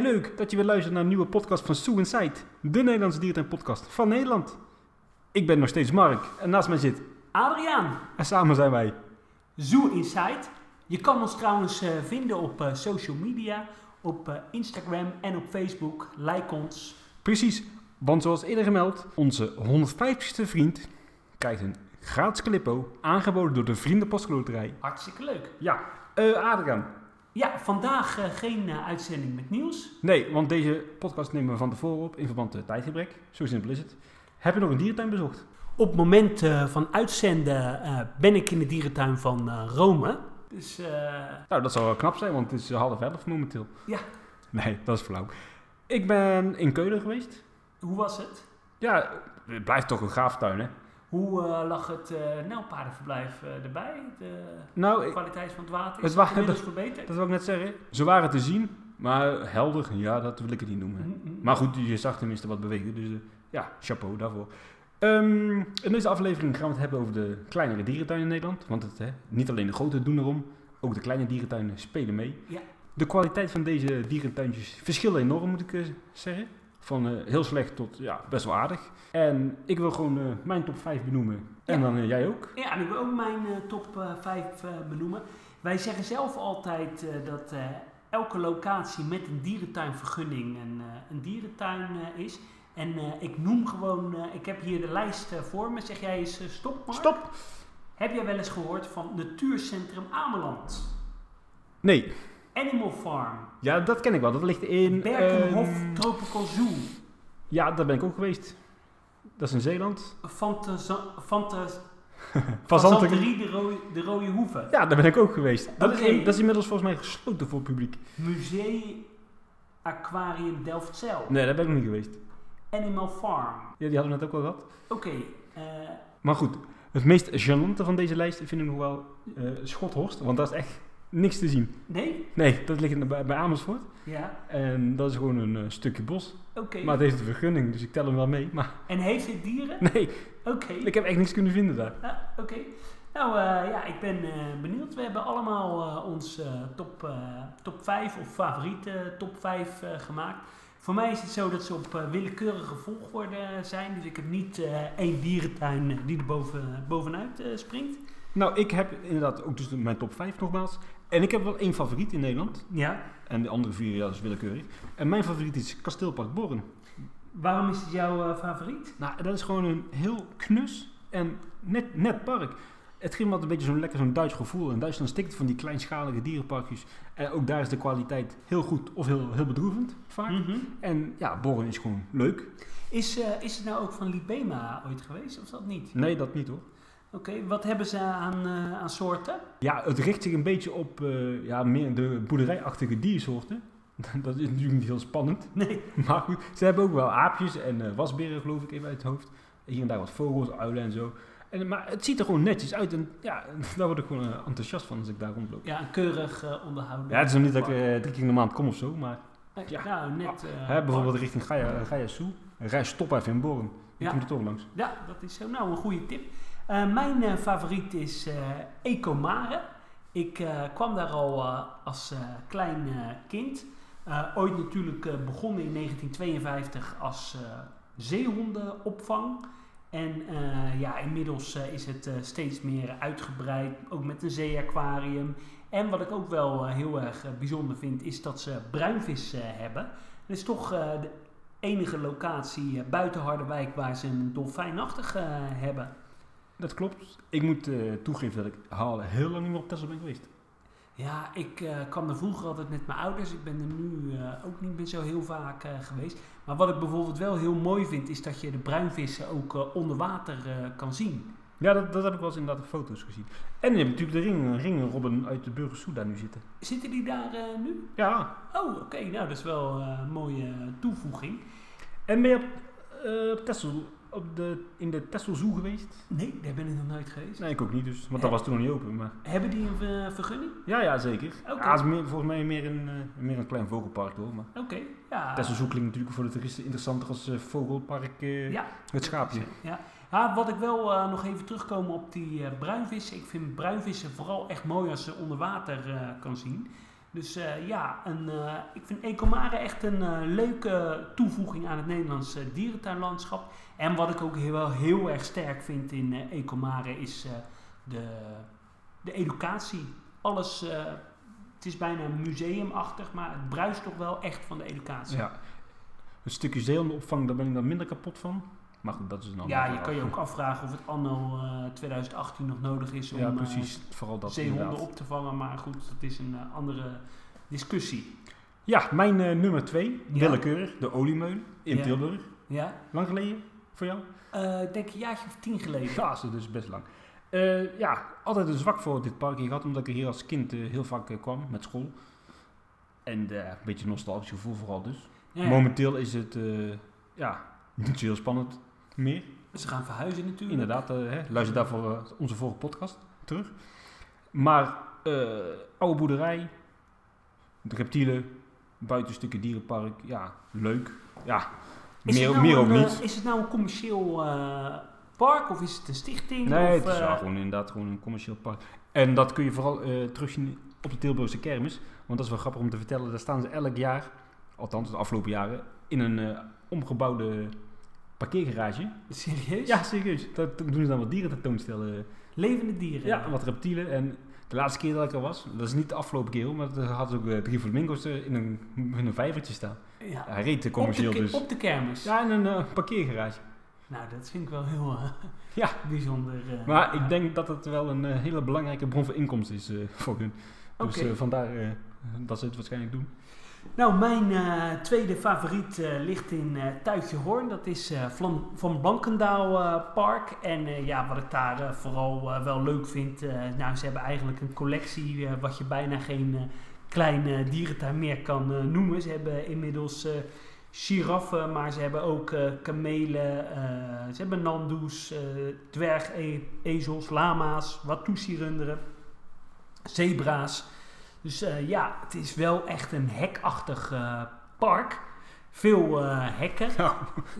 leuk dat je weer luistert naar een nieuwe podcast van Suicide, de Nederlandse dierentuin podcast van Nederland. Ik ben nog steeds Mark en naast mij zit Adriaan, en samen zijn wij. Zoo Insight. Je kan ons trouwens eh, vinden op eh, social media, op eh, Instagram en op Facebook. Like ons. Precies, want zoals eerder gemeld, onze 150ste vriend krijgt een gratis clippo aangeboden door de Vriendenpostloterij. Hartstikke leuk. Ja, eh Adriaan. Ja, vandaag eh, geen eh, uitzending met nieuws. Nee, want deze podcast nemen we van tevoren op in verband met tijdgebrek. Zo simpel is het. Heb je nog een dierentuin bezocht? Op het moment eh, van uitzenden eh, ben ik in de dierentuin van eh, Rome. Dus eh, Nou, dat zou wel knap zijn, want het is half elf momenteel. Ja. Nee, dat is flauw. Ik ben in Keulen geweest. hoe was het? Ja, het blijft toch een gaaf tuin, hè? Hoe eh, lag het eh nijlpaardenverblijf eh, erbij? De Nou, ik- kwaliteit van het water Het is wa- het inmiddels verbeterd. dat wil ik net zeggen. Ze waren te zien, maar helder, ja, dat wil ik het niet noemen. Mhm. Maar goed, je zag tenminste wat bewegen, dus eh, ja, chapeau daarvoor. Ehm, in deze aflevering gaan we het hebben over de kleinere dierentuin in Nederland. Want het, hè, niet alleen de grote doen erom, ook de kleine dierentuinen spelen mee. Ja. De kwaliteit van deze dierentuintjes verschilt enorm, moet ik eh, zeggen. Van eh, heel slecht tot ja, best wel aardig. En ik wil gewoon eh, mijn top 5 benoemen. En Ja. dan eh, jij ook. Ja, en ik wil ook mijn eh, top 5 benoemen. Wij zeggen zelf altijd eh, dat eh, elke locatie met een dierentuinvergunning een, eh, een dierentuin eh, is. En eh, ik noem gewoon, eh, ik heb hier de lijst eh, voor me. Zeg jij eens eh, stop, Mark. Stop! Heb jij wel eens gehoord van Natuurcentrum Ameland? Nee, Animal Farm, ja, dat ken ik wel. Dat ligt in... Berkenhof ehm, Tropical Zoo, ja, daar ben ik ook geweest. Dat is in Zeeland. Fantasa- Fantas- Van Zanten- Fantaserie de, Roo- de Rode Hoeve, Ja, daar ben ik ook geweest. Dat, Oké. is, in- dat is inmiddels volgens mij gesloten voor het publiek. Museum Aquarium Delftzijl, Nee, daar ben ik nog niet geweest. Animal Farm. Ja, die hadden we net ook al gehad. Oké, eh, Maar goed, het meest gênante van deze lijst vind ik nog wel eh, Schothorst. Want daar is echt niks te zien. nee? Nee, dat ligt in de- bij, bij Amersfoort. Ja, En dat is gewoon een eh, stukje bos. oké. Maar het heeft een vergunning, dus ik tel hem wel mee. Maar En heeft dit dieren? nee, Oké. ik heb echt niks kunnen vinden daar. Nou, oké. Nou eh, ja, ik ben eh, benieuwd. We hebben allemaal eh, ons eh, top, eh, top 5 of favoriete top 5 eh, gemaakt. Voor mij is het zo dat ze op eh, willekeurige volgorde zijn. Dus ik heb niet eh, één dierentuin eh, die er boven, bovenuit eh, springt. Nou, ik heb inderdaad ook dus mijn top 5 nogmaals. En ik heb wel één favoriet in Nederland. Ja. En de andere vier, ja, dat is willekeurig. En mijn favoriet is Kasteelpark Born. Waarom is het jouw eh, favoriet? Nou, dat is gewoon een heel knus en net, net park. Het geeft me altijd een beetje zo'n lekker zo'n Duits gevoel. In Duitsland stikt het van die kleinschalige dierenparkjes. En ook daar is de kwaliteit heel goed of heel, heel bedroevend vaak. Mhm. En ja, Borren is gewoon leuk. Is, eh, is het nou ook van Libema ooit geweest of is dat niet? Nee, dat niet hoor. Oké, wat hebben ze aan, eh, aan soorten? Ja, het richt zich een beetje op eh, ja, meer de boerderijachtige diersoorten. Dat is natuurlijk niet heel spannend. Nee. Maar goed, ze hebben ook wel aapjes en eh, wasberen, geloof ik, even uit het hoofd. Hier en daar wat vogels, uilen en zo. En, maar het ziet er gewoon netjes uit. En ja, daar word ik gewoon eh, enthousiast van als ik daar rondloop. Ja, een keurig eh, onderhouden. Ja, het is nog niet dat ik eh, drie keer in de maand kom of zo, maar Eh, ja. Ah. Nou, net... eh, hè, bijvoorbeeld richting Gaia, eh, Gaia Soe. En Rij stop even in Born. Je Ja. komt er toch langs. Ja, dat is zo. Nou, een goede tip. Eh, mijn eh, favoriet is eh Ecomare. Ik eh, kwam daar al eh, als eh, klein eh, kind. Eh, ooit natuurlijk eh, begonnen in 1952 als eh, zeehondenopvang. En eh, ja, inmiddels eh, is het eh, steeds meer uitgebreid, ook met een zeeaquarium. En wat ik ook wel eh, heel erg eh, bijzonder vind, is dat ze bruinvis eh, hebben. Het is toch eh, de enige locatie eh, buiten Harderwijk waar ze een dolfijnachtig eh, hebben. Dat klopt. Ik moet eh, toegeven dat ik al heel lang niet meer op Tesla ben geweest. Ja, ik eh, kwam er vroeger altijd met mijn ouders. Ik ben er nu eh, ook niet meer zo heel vaak eh, geweest. Maar wat ik bijvoorbeeld wel heel mooi vind, is dat je de bruinvissen ook eh, onder water eh, kan zien. Ja, dat, dat heb ik wel eens inderdaad op foto's gezien. En je hebt natuurlijk de ring, ringenrobben uit de Burgersoe daar nu zitten. Zitten die daar eh, nu? Ja, Oh, oké. Nou, dat is wel eh, een mooie toevoeging. en ben je op, eh, op Texel- op de, in de Texel Zoo geweest? Nee, daar ben ik nog nooit geweest. Nee, ik ook niet dus, want dat was toen nog niet open. Maar... Hebben die een eh, vergunning? Ja, ja, zeker. Oké. Ja, het is meer, volgens mij meer een, eh, meer een klein vogelpark hoor. Maar... Oké, ja. Tessel Zoo klinkt natuurlijk voor de toeristen interessanter als eh, vogelpark eh, Ja. Het schaapje. Ja. ja, wat ik wel eh, nog even terugkomen op die eh, bruinvissen. Ik vind bruinvissen vooral echt mooi als ze onder water eh, kan zien. Dus eh, ja, een, eh, ik vind Ecomare echt een eh, leuke toevoeging aan het Nederlandse dierentuinlandschap. En wat ik ook heel, wel heel erg sterk vind in eh, Ecomare is eh, de, de educatie. Alles, eh, het is bijna museumachtig, maar het bruist toch wel echt van de educatie. Ja. Een stukje zeeonderopvang, daar ben ik dan minder kapot van. Maar goed, dat is een ander Ja, je verhaal. kan je ook afvragen of het anno eh, 2018 nog nodig is om Ja, eh, precies. Vooral dat zeehonden inderdaad. op te vangen. Maar goed, dat is een eh, andere discussie. Ja, mijn eh, nummer twee, Ja. willekeurig, de oliemeulen in Ja. Tilburg. Ja? Lang geleden voor jou? Eh, ik denk een jaartje of tien geleden. Ja, is het dus best lang. Eh, ja, altijd een zwak voor dit parkje gehad, omdat ik er hier als kind eh, heel vaak eh, kwam met school. En eh, een beetje een nostalgisch gevoel vooral dus. Ja, ja. Momenteel is het eh, ja, niet zo heel spannend meer. Ze gaan verhuizen natuurlijk. Inderdaad, eh, hè, luister daarvoor eh, onze vorige podcast terug. Maar eh, oude boerderij, de reptielen, buitenstukken dierenpark, ja, leuk. Ja, Is meer, het nou meer ook een, eh, niet. Is het nou een commercieel eh, park of is het een stichting? Nee, of, het is eh, wel gewoon inderdaad gewoon een commercieel park. En dat kun je vooral eh, terugzien op de Tilburgse kermis. Want dat is wel grappig om te vertellen. Daar staan ze elk jaar, althans de afgelopen jaren, in een eh, omgebouwde parkeergarage. Serieus? Ja, serieus. Dat doen ze dan wat dieren tentoonstellen. Levende dieren. Ja, wat reptielen. En de laatste keer dat ik er was, dat is niet de afgelopen keer, hoor, maar er hadden ook eh, drie flamingo's eh, in een, in een vijvertje staan. Ja. Hij reed te Op, de, commercieel ke- dus. op de kermis. Ja, in een eh, parkeergarage. Nou, dat vind ik wel heel eh, Ja. bijzonder. eh, Maar ja. ik denk dat het wel een eh, hele belangrijke bron van inkomsten is eh, voor hun. Dus Oké. eh, vandaar eh, dat ze het waarschijnlijk doen. Nou, mijn eh, tweede favoriet eh, ligt in eh Tuitje Hoorn. Dat is eh, Vlam- Van Blankendaal eh, Park. En eh, ja, wat ik daar eh, vooral eh, wel leuk vind. eh, nou, ze hebben eigenlijk een collectie eh, wat je bijna geen eh klein eh, dierentuin meer kan eh, noemen. Ze hebben inmiddels eh, giraffen, maar ze hebben ook eh, kamelen. eh, ze hebben nandoes, eh dwergezels, lama's, watoesie-runderen, zebra's. Dus eh, ja, het is wel echt een hekachtig eh, park. Veel eh, hekken. Nou,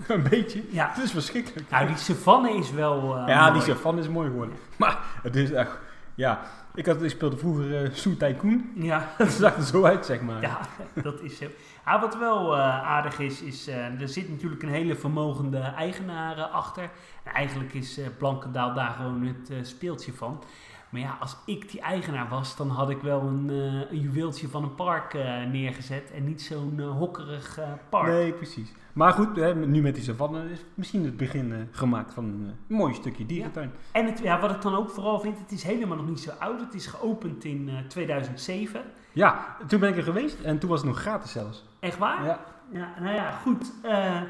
een beetje. Ja, Het is verschrikkelijk. nou die savanne is wel. eh, ja, die mooi. Japan is mooi geworden. Maar het is echt... Ja, ik, had, ik speelde vroeger eh Sue Tycoon. Ja, Dat zag er zo uit, zeg maar. ja, dat is zo. Ja, wat wel eh, aardig is, is eh, er zit natuurlijk een hele vermogende eigenaar eh, achter. En eigenlijk is eh, Blankendaal daar gewoon het eh, speeltje van. Maar ja, als ik die eigenaar was, dan had ik wel een, eh, een juweeltje van een park eh, neergezet. En niet zo'n eh, hokkerig eh, park. Nee, precies. Maar goed, hè, nu met die savanne is misschien het begin eh, gemaakt van een eh, mooi stukje dierentuin. En het, ja, wat ik dan ook vooral vind, het is helemaal nog niet zo oud. Het is geopend in eh, 2007. Ja. toen ben ik er geweest en toen was het nog gratis zelfs. Echt waar? Ja, Ja, nou ja, goed. Eh,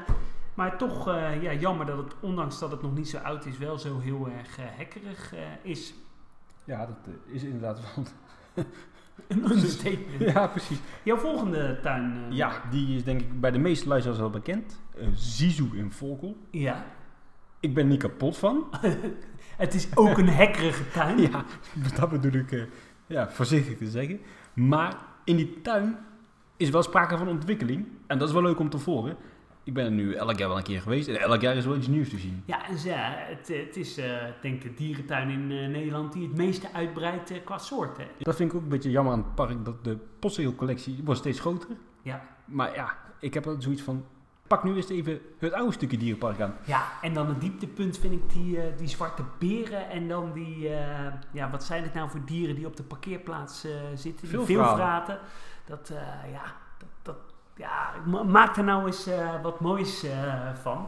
maar toch eh, ja, jammer dat het, ondanks dat het nog niet zo oud is, wel zo heel erg eh, hekkerig eh, is. ja dat eh, is inderdaad wel... Een understatement. ja, precies. Jouw volgende tuin. eh, Ja, die is denk ik bij de meeste luisteraars wel bekend. Eh Zizou in Volkel. ja. Ik ben er niet kapot van. Het is ook een hekkerige tuin. ja, dat bedoel ik eh, ja, voorzichtig te zeggen. Maar in die tuin is wel sprake van ontwikkeling. En dat is wel leuk om te volgen. Ik ben er nu elk jaar wel een keer geweest. En elk jaar is wel iets nieuws te zien. Ja, en ze- ja, het, het is eh, ik denk de dierentuin in eh, Nederland die het meeste uitbreidt eh, qua soorten. Dat vind ik ook een beetje jammer aan het park. Dat de postzeelcollectie wordt steeds groter. Ja. Maar ja, ik heb altijd zoiets van... Pak nu eerst even het oude stukje dierenpark aan. Ja, en dan het dieptepunt vind ik die, eh, die zwarte beren en dan die, eh, ja, wat zijn het nou voor dieren die op de parkeerplaats eh, zitten? Die Veelvraten. veelvraten. Dat, eh, ja, dat, dat, ja, ma- maak er nou eens eh, wat moois eh, van.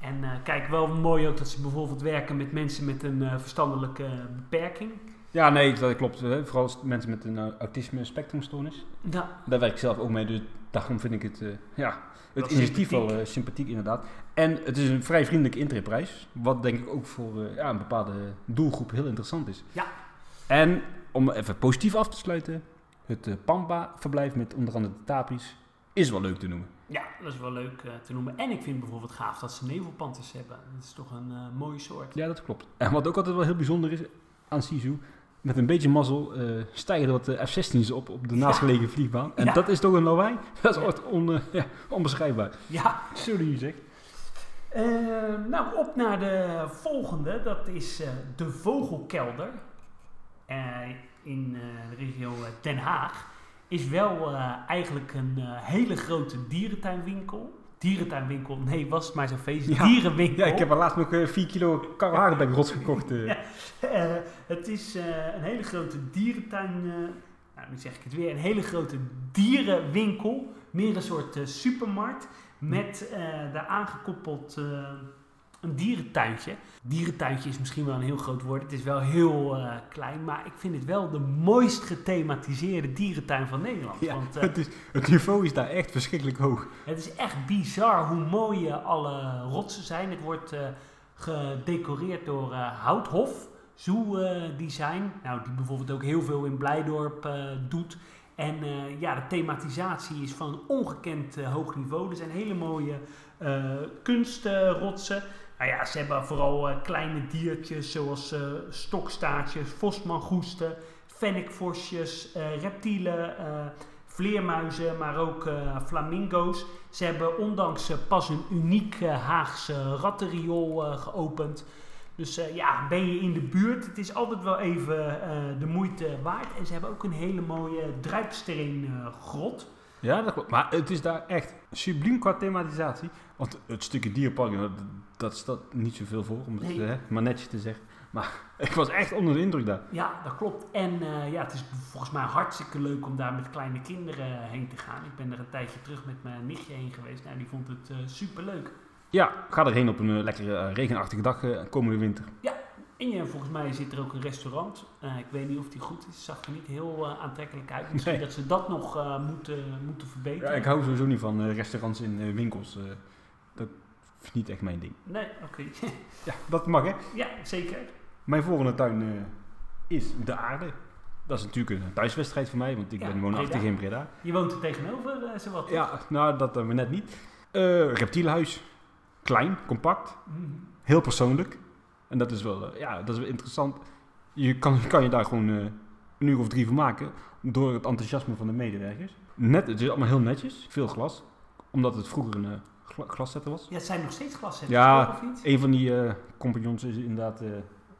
En eh, kijk, wel mooi ook dat ze bijvoorbeeld werken met mensen met een eh, verstandelijke beperking. Ja, nee, dat klopt. Hè. Vooral als mensen met een eh, autisme spectrumstoornis. Nou, Daar werk ik zelf ook mee, dus daarom vind ik het, eh, ja, Dat het is initiatief wel sympathiek. eh, sympathiek inderdaad. En het is een vrij vriendelijke intreprijs, wat denk ik ook voor eh, ja, een bepaalde doelgroep heel interessant is. Ja. En om even positief af te sluiten, het eh, Pampa-verblijf met onder andere de tapis is wel leuk te noemen. ja, dat is wel leuk eh, te noemen. En ik vind bijvoorbeeld gaaf dat ze nevelpanthers hebben. Dat is toch een eh, mooie soort. Ja, dat klopt. En wat ook altijd wel heel bijzonder is aan Sisu, met een beetje mazzel eh, stijgen wat de F-16's op op de Ja. naastgelegen vliegbaan. En Ja. dat is toch een lawaai? Dat is Ja. ooit on, eh, ja, onbeschrijfbaar. Ja, Zo die je zegt. Eh, nou, op naar de volgende. Dat is eh, de Vogelkelder. Eh, in eh, de regio eh, Den Haag. is wel eh, eigenlijk een eh, hele grote dierentuinwinkel. Dierentuinwinkel, nee, was het maar zo'n feestje. Ja. Dierenwinkel. Ja, ik heb er laatst nog eh, 4 kilo Karl Hagenbeck rots gekocht. eh. Ja. Eh, het is eh, een hele grote dierentuin. eh, nou, nu zeg ik het weer. Een hele grote dierenwinkel. Meer een soort eh, supermarkt. Met eh, daar aangekoppeld eh, een dierentuintje. Dierentuintje is misschien wel een heel groot woord. Het is wel heel eh, klein. Maar ik vind het wel de mooist gethematiseerde dierentuin van Nederland. Ja, Want eh, het, is, het niveau is daar echt verschrikkelijk hoog. het is echt bizar hoe mooi eh, alle rotsen zijn. Het wordt eh, gedecoreerd door eh, Houthof Zoo eh, Design. Nou, die bijvoorbeeld ook heel veel in Blijdorp eh, doet. En eh, ja, de thematisatie is van een ongekend eh, hoog niveau. Er zijn hele mooie eh, kunstrotsen. Nou ja, ze hebben vooral eh, kleine diertjes zoals eh, stokstaartjes, vosmangoesten, fennekvosjes, eh, reptielen, eh, vleermuizen, maar ook eh, flamingo's. Ze hebben ondanks eh, pas een uniek eh, Haagse rattenriool eh, geopend. Dus eh, ja, ben je in de buurt, het is altijd wel even eh, de moeite waard. En ze hebben ook een hele mooie druipsteengrot. grot. Ja, dat klopt. Maar het is daar echt subliem qua thematisatie. Want het stukje dierpark, dat, dat staat niet zoveel voor, om het Nee. hè, maar netjes te zeggen. Maar ik was echt onder de indruk daar. ja, dat klopt. En eh, ja, het is volgens mij hartstikke leuk om daar met kleine kinderen eh, heen te gaan. Ik ben er een tijdje terug met mijn nichtje heen geweest. Nou, die vond het eh superleuk. Ja, ga erheen op een eh, lekkere eh, regenachtige dag eh, komende winter. En ja, volgens mij zit er ook een restaurant. Eh, ik weet niet of die goed is. Zag er niet heel eh, aantrekkelijk uit. Misschien Nee. dat ze dat nog eh, moeten, moeten verbeteren. Ja, ik hou sowieso niet van eh, restaurants in eh, winkels. eh. dat is niet echt mijn ding. Nee, oké. Ja, dat mag hè. ja, zeker. Mijn volgende tuin eh, is de aarde. Dat is natuurlijk een thuiswedstrijd voor mij, want ik Ja, ben woonachtig Breda. in Breda. Je woont er tegenover, eh zowat. Ja, nou dat hebben we net niet. Eh reptielenhuis. Klein, compact, Mhm. heel persoonlijk. En dat is wel, eh, ja, dat is wel interessant. Je kan, kan je daar gewoon eh, een uur of drie van maken door het enthousiasme van de medewerkers. Net, het is allemaal heel netjes, veel glas, omdat het vroeger een eh, gla- glaszetter was. Ja, het zijn nog steeds glaszetters, Ja. toch, of niet? Een van die eh, compagnons is inderdaad eh,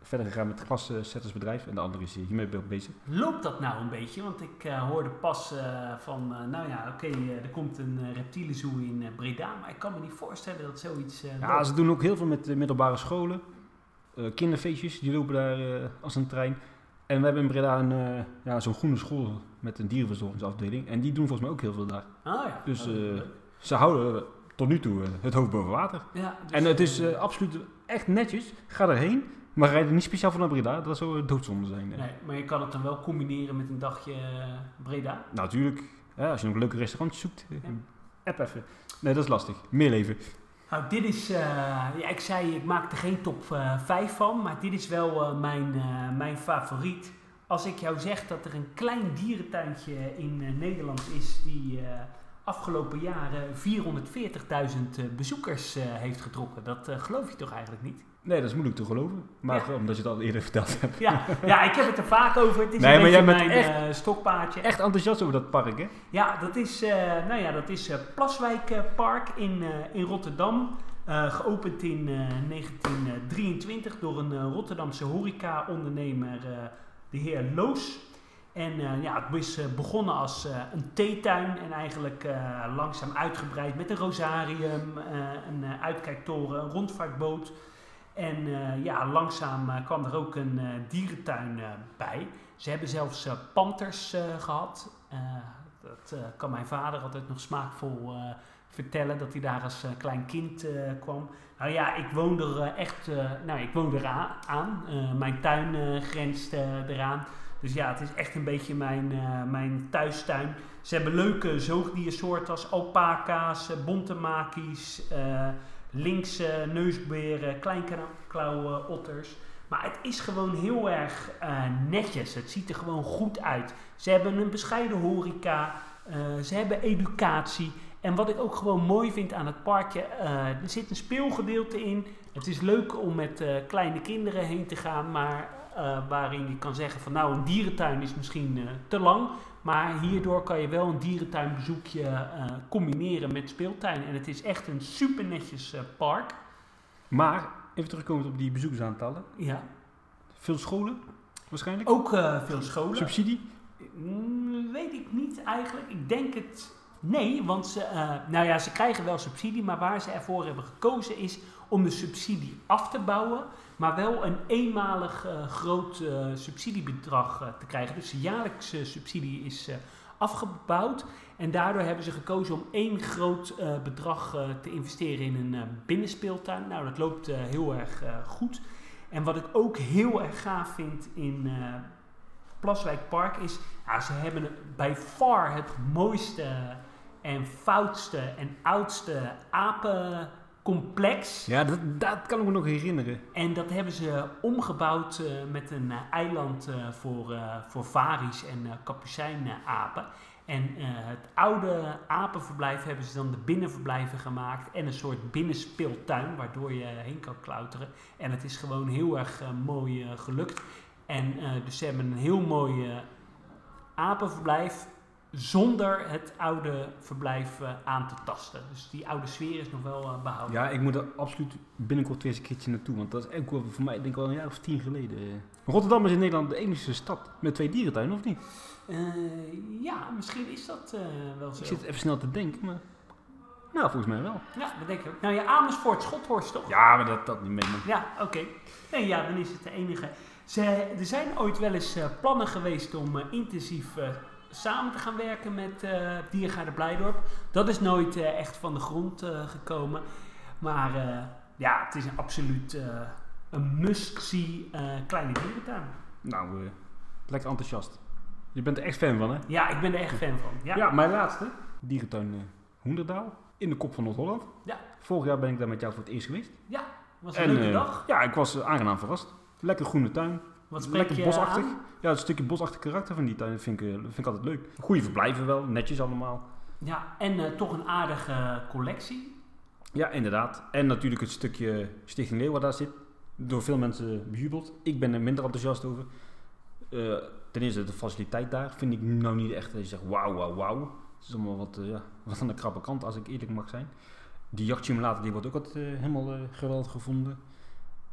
verder gegaan met het glaszettersbedrijf en de andere is hiermee be- bezig. Loopt dat nou een beetje? Want ik eh, hoorde pas eh, van, eh, nou ja, oké, eh, er komt een eh, reptielenzoo in eh, Breda, maar ik kan me niet voorstellen dat zoiets... eh, Ja, loopt. ze doen ook heel veel met eh, middelbare scholen. Eh, kinderfeestjes, die lopen daar eh, als een trein. En we hebben in Breda een, eh, ja, zo'n groene school met een dierenverzorgingsafdeling. En die doen volgens mij ook heel veel daar. Ah, ja. Dus, Oh, eh, leuk. Ze houden eh, tot nu toe eh, het hoofd boven water. ja, dus, En het is eh, eh, absoluut echt netjes. Ga erheen. Maar rijd er niet speciaal van naar Breda. Dat zou eh, doodzonde zijn. eh. nee, maar je kan het dan wel combineren met een dagje eh, Breda. Nou, natuurlijk. Ja, als je nog leuke restaurantjes zoekt. eh, Ja. App even. Nee, dat is lastig. Meer leven. Nou, dit is, eh, ja, ik zei, ik maak er geen top eh 5 van, maar dit is wel eh, mijn, eh, mijn favoriet. Als ik jou zeg dat er een klein dierentuintje in eh, Nederland is die eh, afgelopen jaren 440.000 eh, bezoekers eh, heeft getrokken, dat eh, geloof je toch eigenlijk niet? Nee, dat is moeilijk te geloven. Maar omdat je het al eerder verteld hebt. Ja, ja ik heb het er vaak over. Het is Nee, een maar beetje jij bent mijn eh, stokpaardje. Echt enthousiast over dat park, hè? Ja, dat is, eh, nou ja, dat is eh, Plaswijk eh, Park in, eh, in Rotterdam. Eh, geopend in eh, 1923 door een eh, Rotterdamse horeca-ondernemer, eh, de heer Loos. En eh, ja, het is eh, begonnen als eh, een theetuin en eigenlijk eh, langzaam uitgebreid met een rosarium, eh, een eh, uitkijktoren, een rondvaartboot. En eh, ja, langzaam eh, kwam er ook een eh, dierentuin eh, bij. Ze hebben zelfs eh, panters eh, gehad. Eh, dat eh, kan mijn vader altijd nog smaakvol eh, vertellen, dat hij daar als eh, klein kind eh, kwam. Nou ja, ik woon er eh, echt eh, nou, ik woon eraan. aan. Eh, mijn tuin eh, grenst eh, eraan. Dus ja, het is echt een beetje mijn, eh, mijn thuistuin. Ze hebben leuke zoogdiersoorten als alpaca's, eh, bontemakis, eh linkse neusberen, kleinklauwotters. Maar het is gewoon heel erg eh, netjes. Het ziet er gewoon goed uit. Ze hebben een bescheiden horeca. eh, ze hebben educatie. En wat ik ook gewoon mooi vind aan het parkje, eh, er zit een speelgedeelte in. Het is leuk om met eh, kleine kinderen heen te gaan, maar eh, waarin je kan zeggen van nou een dierentuin is misschien eh, te lang. Maar hierdoor kan je wel een dierentuinbezoekje eh, combineren met speeltuin. En het is echt een super netjes eh, park. Maar, even terugkomend op die bezoekersaantallen. Ja. Veel scholen, waarschijnlijk. Ook eh, veel scholen. Subsidie. Mm, Weet ik niet eigenlijk. Ik denk het nee, want ze, eh, nou ja, ze krijgen wel subsidie, maar waar ze ervoor hebben gekozen is om de subsidie af te bouwen, maar wel een eenmalig eh, groot eh, subsidiebedrag eh, te krijgen. Dus de jaarlijkse subsidie is eh, afgebouwd en daardoor hebben ze gekozen om één groot eh, bedrag eh, te investeren in een eh, binnenspeeltuin. Nou, dat loopt eh, heel erg eh, goed. En wat ik ook heel erg gaaf vind in eh, Plaswijk Park is, ja, ze hebben bij far het mooiste en foutste en oudste apencomplex. Ja, dat, dat kan ik me nog herinneren. En dat hebben ze omgebouwd eh, met een eh, eiland eh, voor, eh voor varies en eh kapucijnapen. En eh, het oude apenverblijf hebben ze dan de binnenverblijven gemaakt en een soort binnenspeeltuin waardoor je heen kan klauteren. En het is gewoon heel erg eh, mooi eh, gelukt. En eh, dus ze hebben een heel mooi eh, apenverblijf zonder het oude verblijf eh, aan te tasten. Dus die oude sfeer is nog wel eh, behouden. Ja, ik moet er absoluut binnenkort weer eens een keertje naartoe. Want dat is echt wel voor mij, denk ik wel een jaar of tien geleden. Rotterdam is in Nederland de enige stad met twee dierentuinen, of niet? Eh, ja, misschien is dat eh, wel zo. Ik zit even snel te denken, maar... Nou, volgens mij wel. Ja, dat denk ik ook. Nou ja, Amersfoort, Schothorst toch? Ja, maar dat, dat niet meer. man. Ja, oké. Nee, ja, dan is het de enige. Ze, er zijn ooit wel eens eh, plannen geweest om eh, intensief eh, samen te gaan werken met eh Diergaarde Blijdorp. Dat is nooit eh, echt van de grond eh, gekomen. Maar eh, ja, het is een absoluut eh, een must-see eh, kleine dierentuin. Nou, eh, lekker enthousiast. Je bent er echt fan van, hè? Ja, ik ben er echt fan van. Ja, Ja, mijn laatste. Dierentuin eh, Hoenderdaal. In de kop van Noord-Holland. Ja. Vorig jaar ben ik daar met jou voor het eerst geweest. was een leuke eh, dag. Ja, ik was eh, aangenaam verrast. Lekker groene tuin. Wat spreek lekker je bosachtig. aan? Ja, het stukje bosachtig karakter van die tuin vind ik, eh, vind ik altijd leuk. Goede verblijven wel, netjes allemaal. Ja, en eh, toch een aardige collectie. Ja, inderdaad. En natuurlijk het stukje Stichting Leeuwen daar zit. Door veel mensen bejubeld. Ik ben er minder enthousiast over. Eh, ten eerste de faciliteit daar vind ik nou niet echt dat je zegt wauw, wauw, wauw. Het is allemaal wat, eh, ja, wat aan de krappe kant als ik eerlijk mag zijn. Die jachtsimulator die wordt ook altijd, eh, helemaal eh, geweldig gevonden.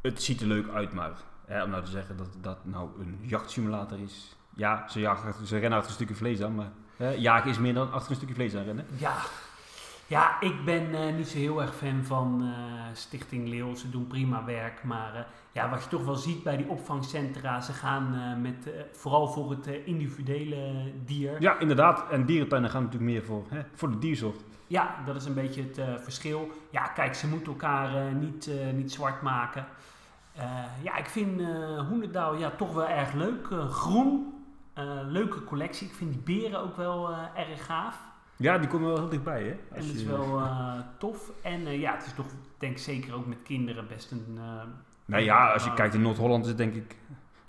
Het ziet er leuk uit, maar hè, om nou te zeggen dat dat nou een jachtsimulator is. Ja, ze, jagen, ze rennen achter een stukje vlees aan, maar hè, jagen is meer dan achter een stukje vlees aan rennen. Ja. Ja, ik ben eh, niet zo heel erg fan van eh, Stichting Leeuw. Ze doen prima werk. Maar eh, ja, wat je toch wel ziet bij die opvangcentra, ze gaan eh, met, eh, vooral voor het eh, individuele dier. Ja, inderdaad. En dierentuinen gaan natuurlijk meer voor, hè, voor de diersoort. Ja, dat is een beetje het eh, verschil. Ja, kijk, ze moeten elkaar eh, niet, eh, niet zwart maken. Eh, ja, ik vind eh Hoenendaal ja, toch wel erg leuk. Eh, groen, eh, leuke collectie. Ik vind die beren ook wel eh, erg gaaf. Ja, die komen wel heel dichtbij, hè? En dat is wel eh, tof. En eh, ja, het is toch, denk ik, zeker ook met kinderen best een. eh, Nou ja, als je kijkt in Noord-Holland is het denk ik...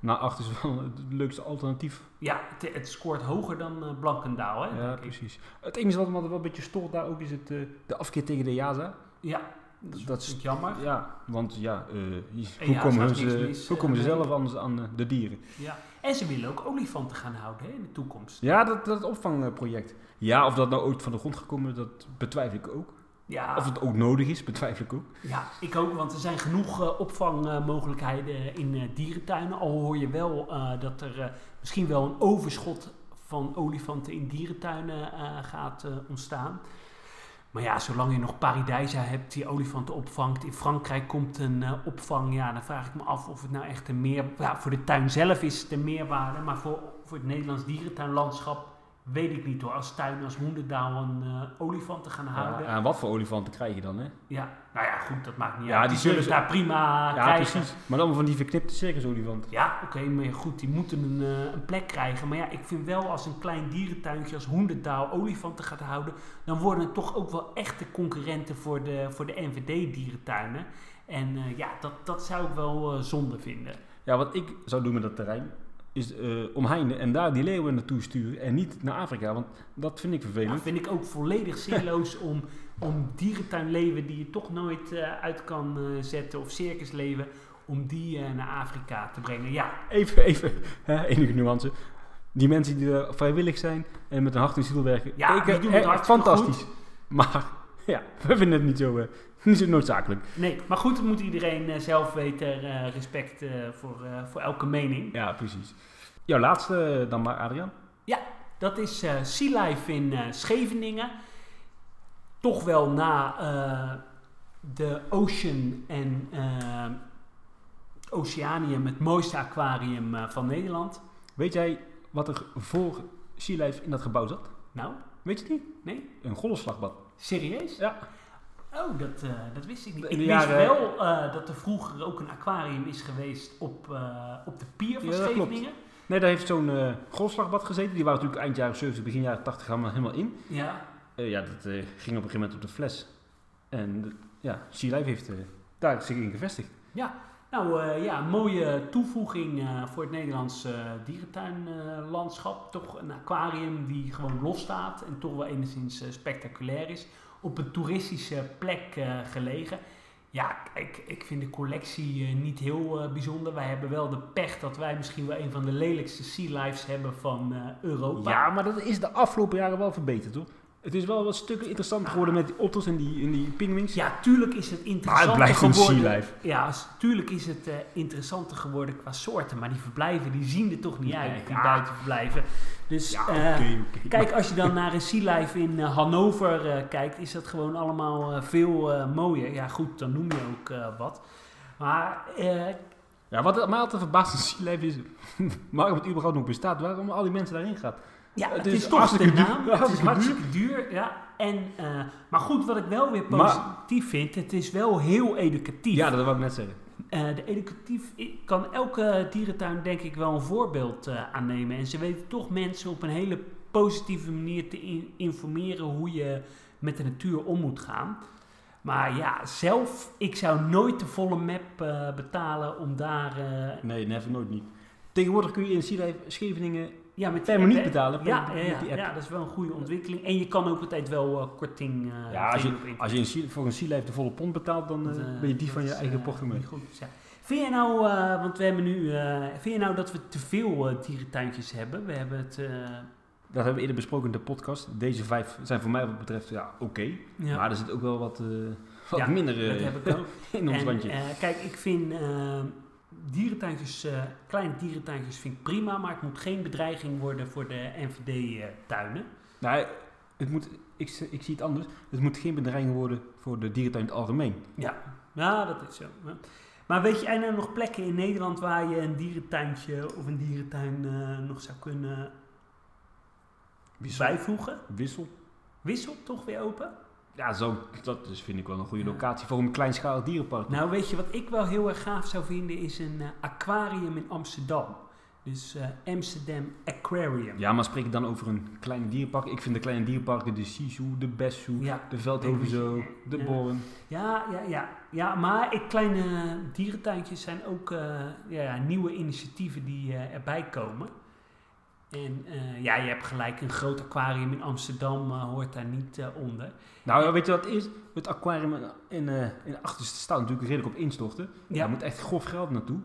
Na acht is wel het leukste alternatief. ja, het, het scoort hoger dan eh, Blankendaal, hè? Ja, denk ik. precies. Het enige wat me altijd wel een beetje stoort daar ook is het, eh, de afkeer tegen de Jaza. Ja, dat is, Dat dat is- jammer. Ja, want ja, eh, hoe Eaza komen, is ze, niks mis, hoe komen ze eh, zelf anders aan eh, de dieren? Ja. En ze willen ook olifanten gaan houden hè, in de toekomst. Ja, dat, dat opvangproject. Ja, of dat nou ooit van de grond gekomen is, dat betwijfel ik ook. Ja, Of het ook nodig is, betwijfel ik ook. ja ik ook, want er zijn genoeg eh, opvangmogelijkheden in eh, dierentuinen. Al hoor je wel eh, dat er eh, misschien wel een overschot van olifanten in dierentuinen eh, gaat eh, ontstaan. Maar ja, zolang je nog Paradijsa hebt die olifanten opvangt. In Frankrijk komt een eh, opvang. Ja, dan vraag ik me af of het nou echt een meer... Ja, voor de tuin zelf is het een meerwaarde. Maar voor, voor het Nederlands dierentuinlandschap weet ik niet hoor. Als tuin, als hoendendaal een olifant olifanten gaan houden. Ja, en wat voor olifanten krijg je dan, hè? Ja, nou ja, goed, dat maakt niet Ja, die uit. Die zullen zullen ze- daar prima Ja, krijgen. precies. Maar dan van die verknipte circusolifanten. Ja, oké, maar goed, die moeten een, eh, een plek krijgen. Maar ja, ik vind wel als een klein dierentuintje als Hoendendaal olifanten gaat houden, dan worden het toch ook wel echte concurrenten voor de, voor de NVD-dierentuinen. En eh, ja, dat, dat zou ik wel eh, zonde vinden. Ja, wat ik zou doen met dat terrein is eh, omheinden en daar die leeuwen naartoe sturen en niet naar Afrika, want dat vind ik Dat vervelend. vind ik ook volledig zinloos om, om dierentuinleven die je toch nooit eh, uit kan eh, zetten, of circusleven, om die eh, naar Afrika te brengen. Ja, Even, even, hè, enige nuance. Die mensen die er vrijwillig zijn en met een hart en ziel werken, Ja, ik, die eh, doen het eh, hartstikke fantastisch. Maar ja, we vinden het niet zo, eh, niet zo noodzakelijk. Nee, maar goed, dat moet iedereen eh, zelf weten. eh, respect eh, voor, eh, voor elke mening. Ja, precies. Jouw laatste eh, dan maar, Adriaan. Ja, Dat is eh Sea Life in eh, Scheveningen. Toch wel na eh, de Ocean en eh, Oceanium, het mooiste aquarium eh, van Nederland. Weet jij wat er voor Sea Life in dat gebouw zat? Nou, Weet je het niet? nee, Een golfslagbad. serieus? Ja. Oh, dat, eh, dat wist ik niet. In Ik de wist jaren- wel eh, dat er vroeger ook een aquarium is geweest op, eh, op de pier van Ja, dat klopt. Scheveningen. Nee, daar heeft zo'n eh golfslagbad gezeten. Die waren natuurlijk eind jaren 70, begin jaren 80 helemaal, helemaal in. Ja, Eh, ja, dat eh, ging op een gegeven moment op de fles. En eh, ja, Sea Life heeft eh, daar zich in gevestigd. Nou eh, ja, mooie toevoeging eh, voor het Nederlandse dierentuinlandschap. toch een aquarium die gewoon los staat en toch wel enigszins eh, spectaculair is. Op een toeristische plek eh, gelegen. Ja, ik, ik vind de collectie eh, niet heel eh, bijzonder. Wij hebben wel de pech dat wij misschien wel een van de lelijkste sea lives hebben van eh, Europa. Ja, maar dat is de afgelopen jaren wel verbeterd hoor. Het is wel wat stukken interessanter geworden met die otters en die, en die pinguïns. Ja, tuurlijk is het maar het interessanter blijft een geworden. Sea Life. Ja, s- tuurlijk is het eh, interessanter geworden qua soorten, maar die verblijven die zien er toch niet Nee, uit, die ja. buitenverblijven. Dus Ja, eh, oké, oké. kijk, als je dan naar een Sea Life in eh, Hannover eh, kijkt, is dat gewoon allemaal eh, veel eh, mooier. Ja, goed, dan noem je ook eh, wat. Maar eh, Ja, wat mij altijd verbaast aan Sea Life is waarom het überhaupt nog bestaat. Waarom al die mensen daarin gaan. ja, Het het, is is, toch de Dus hartstikke duur. naam. Het is Hartstikke hartstikke duur. Ja. En, eh, maar goed, wat ik wel weer Maar- positief vind, het is wel heel educatief. Ja, dat wou ik net zeggen. Eh, de educatief i- kan elke dierentuin denk ik wel een voorbeeld eh, aannemen. En ze weten toch mensen op een hele positieve manier te in- informeren hoe je met de natuur om moet gaan. Maar ja, zelf, ik zou nooit de volle map eh, betalen om daar... eh, Nee, never, nooit niet. Tegenwoordig kun je in Sea Life Scheveningen ja, met die per app, minuut hè? betalen. per- Ja, ja, met die ja, app. ja, dat is wel een goede ontwikkeling. En je kan ook altijd wel eh, korting eh, Ja, als vinden op je, internet. als je in Sea- voor een Sea Life de volle pond betaalt, dan eh, Want, eh, ben je die dat van je is, eigen eh, portemonnee. niet goed, ja. Vind je nou, eh, want we hebben nu, eh, vind je nou dat we te veel eh, dierentuintjes hebben? We hebben het, eh, Dat hebben we eerder besproken in de podcast. Deze vijf zijn voor mij wat betreft, ja, oké. ja, Maar er zit ook wel wat, eh, wat Ja, minder eh, dat heb ik ook. in ons En, bandje. eh, kijk, ik vind eh, dierentuintjes, eh, kleine dierentuintjes vind ik prima, maar het moet geen bedreiging worden voor de eh, NVD-tuinen. Nou, het moet, ik, z- ik zie het anders. Het moet geen bedreiging worden voor de dierentuin in het algemeen. ja, dat is zo. ja. Maar weet jij nou nog plekken in Nederland waar je een dierentuintje of een dierentuin eh, nog zou kunnen bijvoegen? Wissel. Wissel toch weer open? Ja, zo, dat is, vind ik wel een goede Ja. locatie voor een kleinschalig dierenpark. Nou, weet je wat ik wel heel erg gaaf zou vinden? Is een eh, aquarium in Amsterdam. Dus eh, Amsterdam Aquarium. ja, maar spreek ik dan over een kleine dierenpark? Ik vind de kleine dierenparken de Sisu, de Bessu, Ja. de Veldhovenzo, de Ja. Born. Ja, ja, ja. ja maar ik, kleine dierentuintjes zijn ook eh, ja, ja, nieuwe initiatieven die eh, erbij komen. En eh, ja, je hebt gelijk, een groot aquarium in Amsterdam eh, hoort daar niet eh, onder. Nou, ja, weet je wat het is? Het aquarium in, in, eh, in de achterste staat natuurlijk redelijk op instorten. Ja. Daar moet echt grof geld naartoe.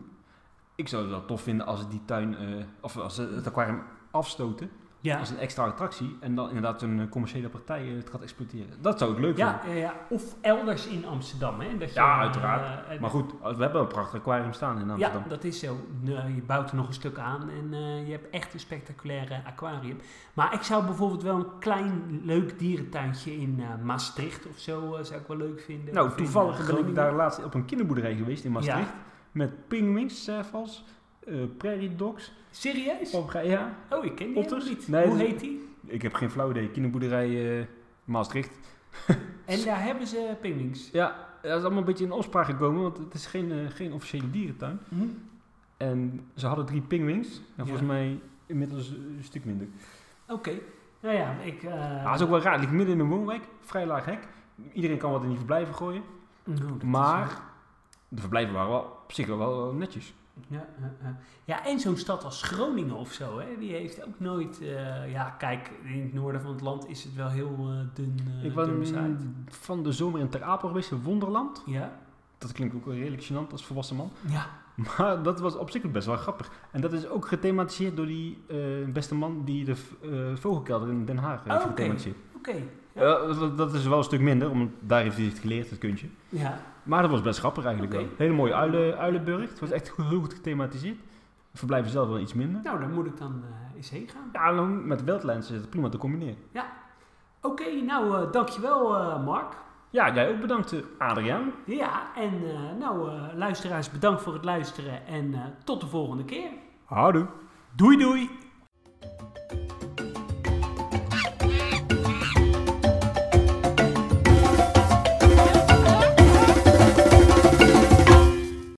Ik zou het wel tof vinden als het die tuin, eh, of als ze het aquarium afstoten Ja, als een extra attractie. En dan inderdaad een eh, commerciële partij eh, het gaat exploiteren. Dat zou ik leuk ja, vinden. ja, ja. of elders in Amsterdam. Hè, dat je, Ja, eh, uiteraard. eh, Maar goed, we hebben een prachtig aquarium staan in Amsterdam. Ja, dat is zo. Nou, Je bouwt er nog een stuk aan en eh, je hebt echt een spectaculaire aquarium. Maar ik zou bijvoorbeeld wel een klein leuk dierentuintje in eh, Maastricht of zo eh, zou ik wel leuk vinden. Of nou, in, eh, toevallig ben ik Groningen. daar laatst op een kinderboerderij geweest in Maastricht. Met pinguïns, servals, eh, prairie dogs, Serieus? papegaaien. Oh, ik ken die Otters? helemaal niet. Nee, Hoe dat is- heet die? E Ik heb geen flauw idee. Kinderboerderij eh, Maastricht. En daar hebben ze pinguïns. Ja, dat is allemaal een beetje in opspraak gekomen, want het is geen, eh, geen officiële dierentuin. En ze hadden drie pingwings. En volgens Ja. mij inmiddels eh, een stuk minder. Oké. Nou ja, ik... eh, Maar het is ook wel raar. Het ligt midden in een woonwijk, vrij laag hek. Iedereen kan wat in die verblijven gooien. Nou, dat is Maar de verblijven waren wel op zich wel, wel netjes. Ja, ja, ja. ja, en zo'n stad als Groningen of zo, hè, die heeft ook nooit... eh, ja, kijk, in het noorden van het land is het wel heel eh, dun, eh ik dun was bezaaid. van de zomer in Ter Apel geweest, in Wonderland. Ja, Dat klinkt ook wel redelijk gênant als volwassen man. ja, Maar dat was op zich best wel grappig. En dat is ook gethematiseerd door die eh, beste man die de v- eh, vogelkelder in Den Haag eh, heeft Oh, oké. gethematiseerd. oké. Ja. Ja, dat- dat is wel een stuk minder, want daar heeft hij het geleerd, het kuntje. Ja, Maar dat was best grappig eigenlijk Oké. wel. Hele mooie uilen, uilenburg. Het was echt goed- heel goed gethematiseerd. Het verblijven zelf wel iets minder. nou, daar moet ik dan eh, is heen gaan. Ja, dan met Wildlands is het prima te combineren. Oké, nou eh, dankjewel eh, Mark. Ja, jij ook bedankt, eh, Adriaan. Ja, en eh, nou eh, luisteraars, bedankt voor het luisteren en eh, tot de volgende keer. Houdoe. Doei doei!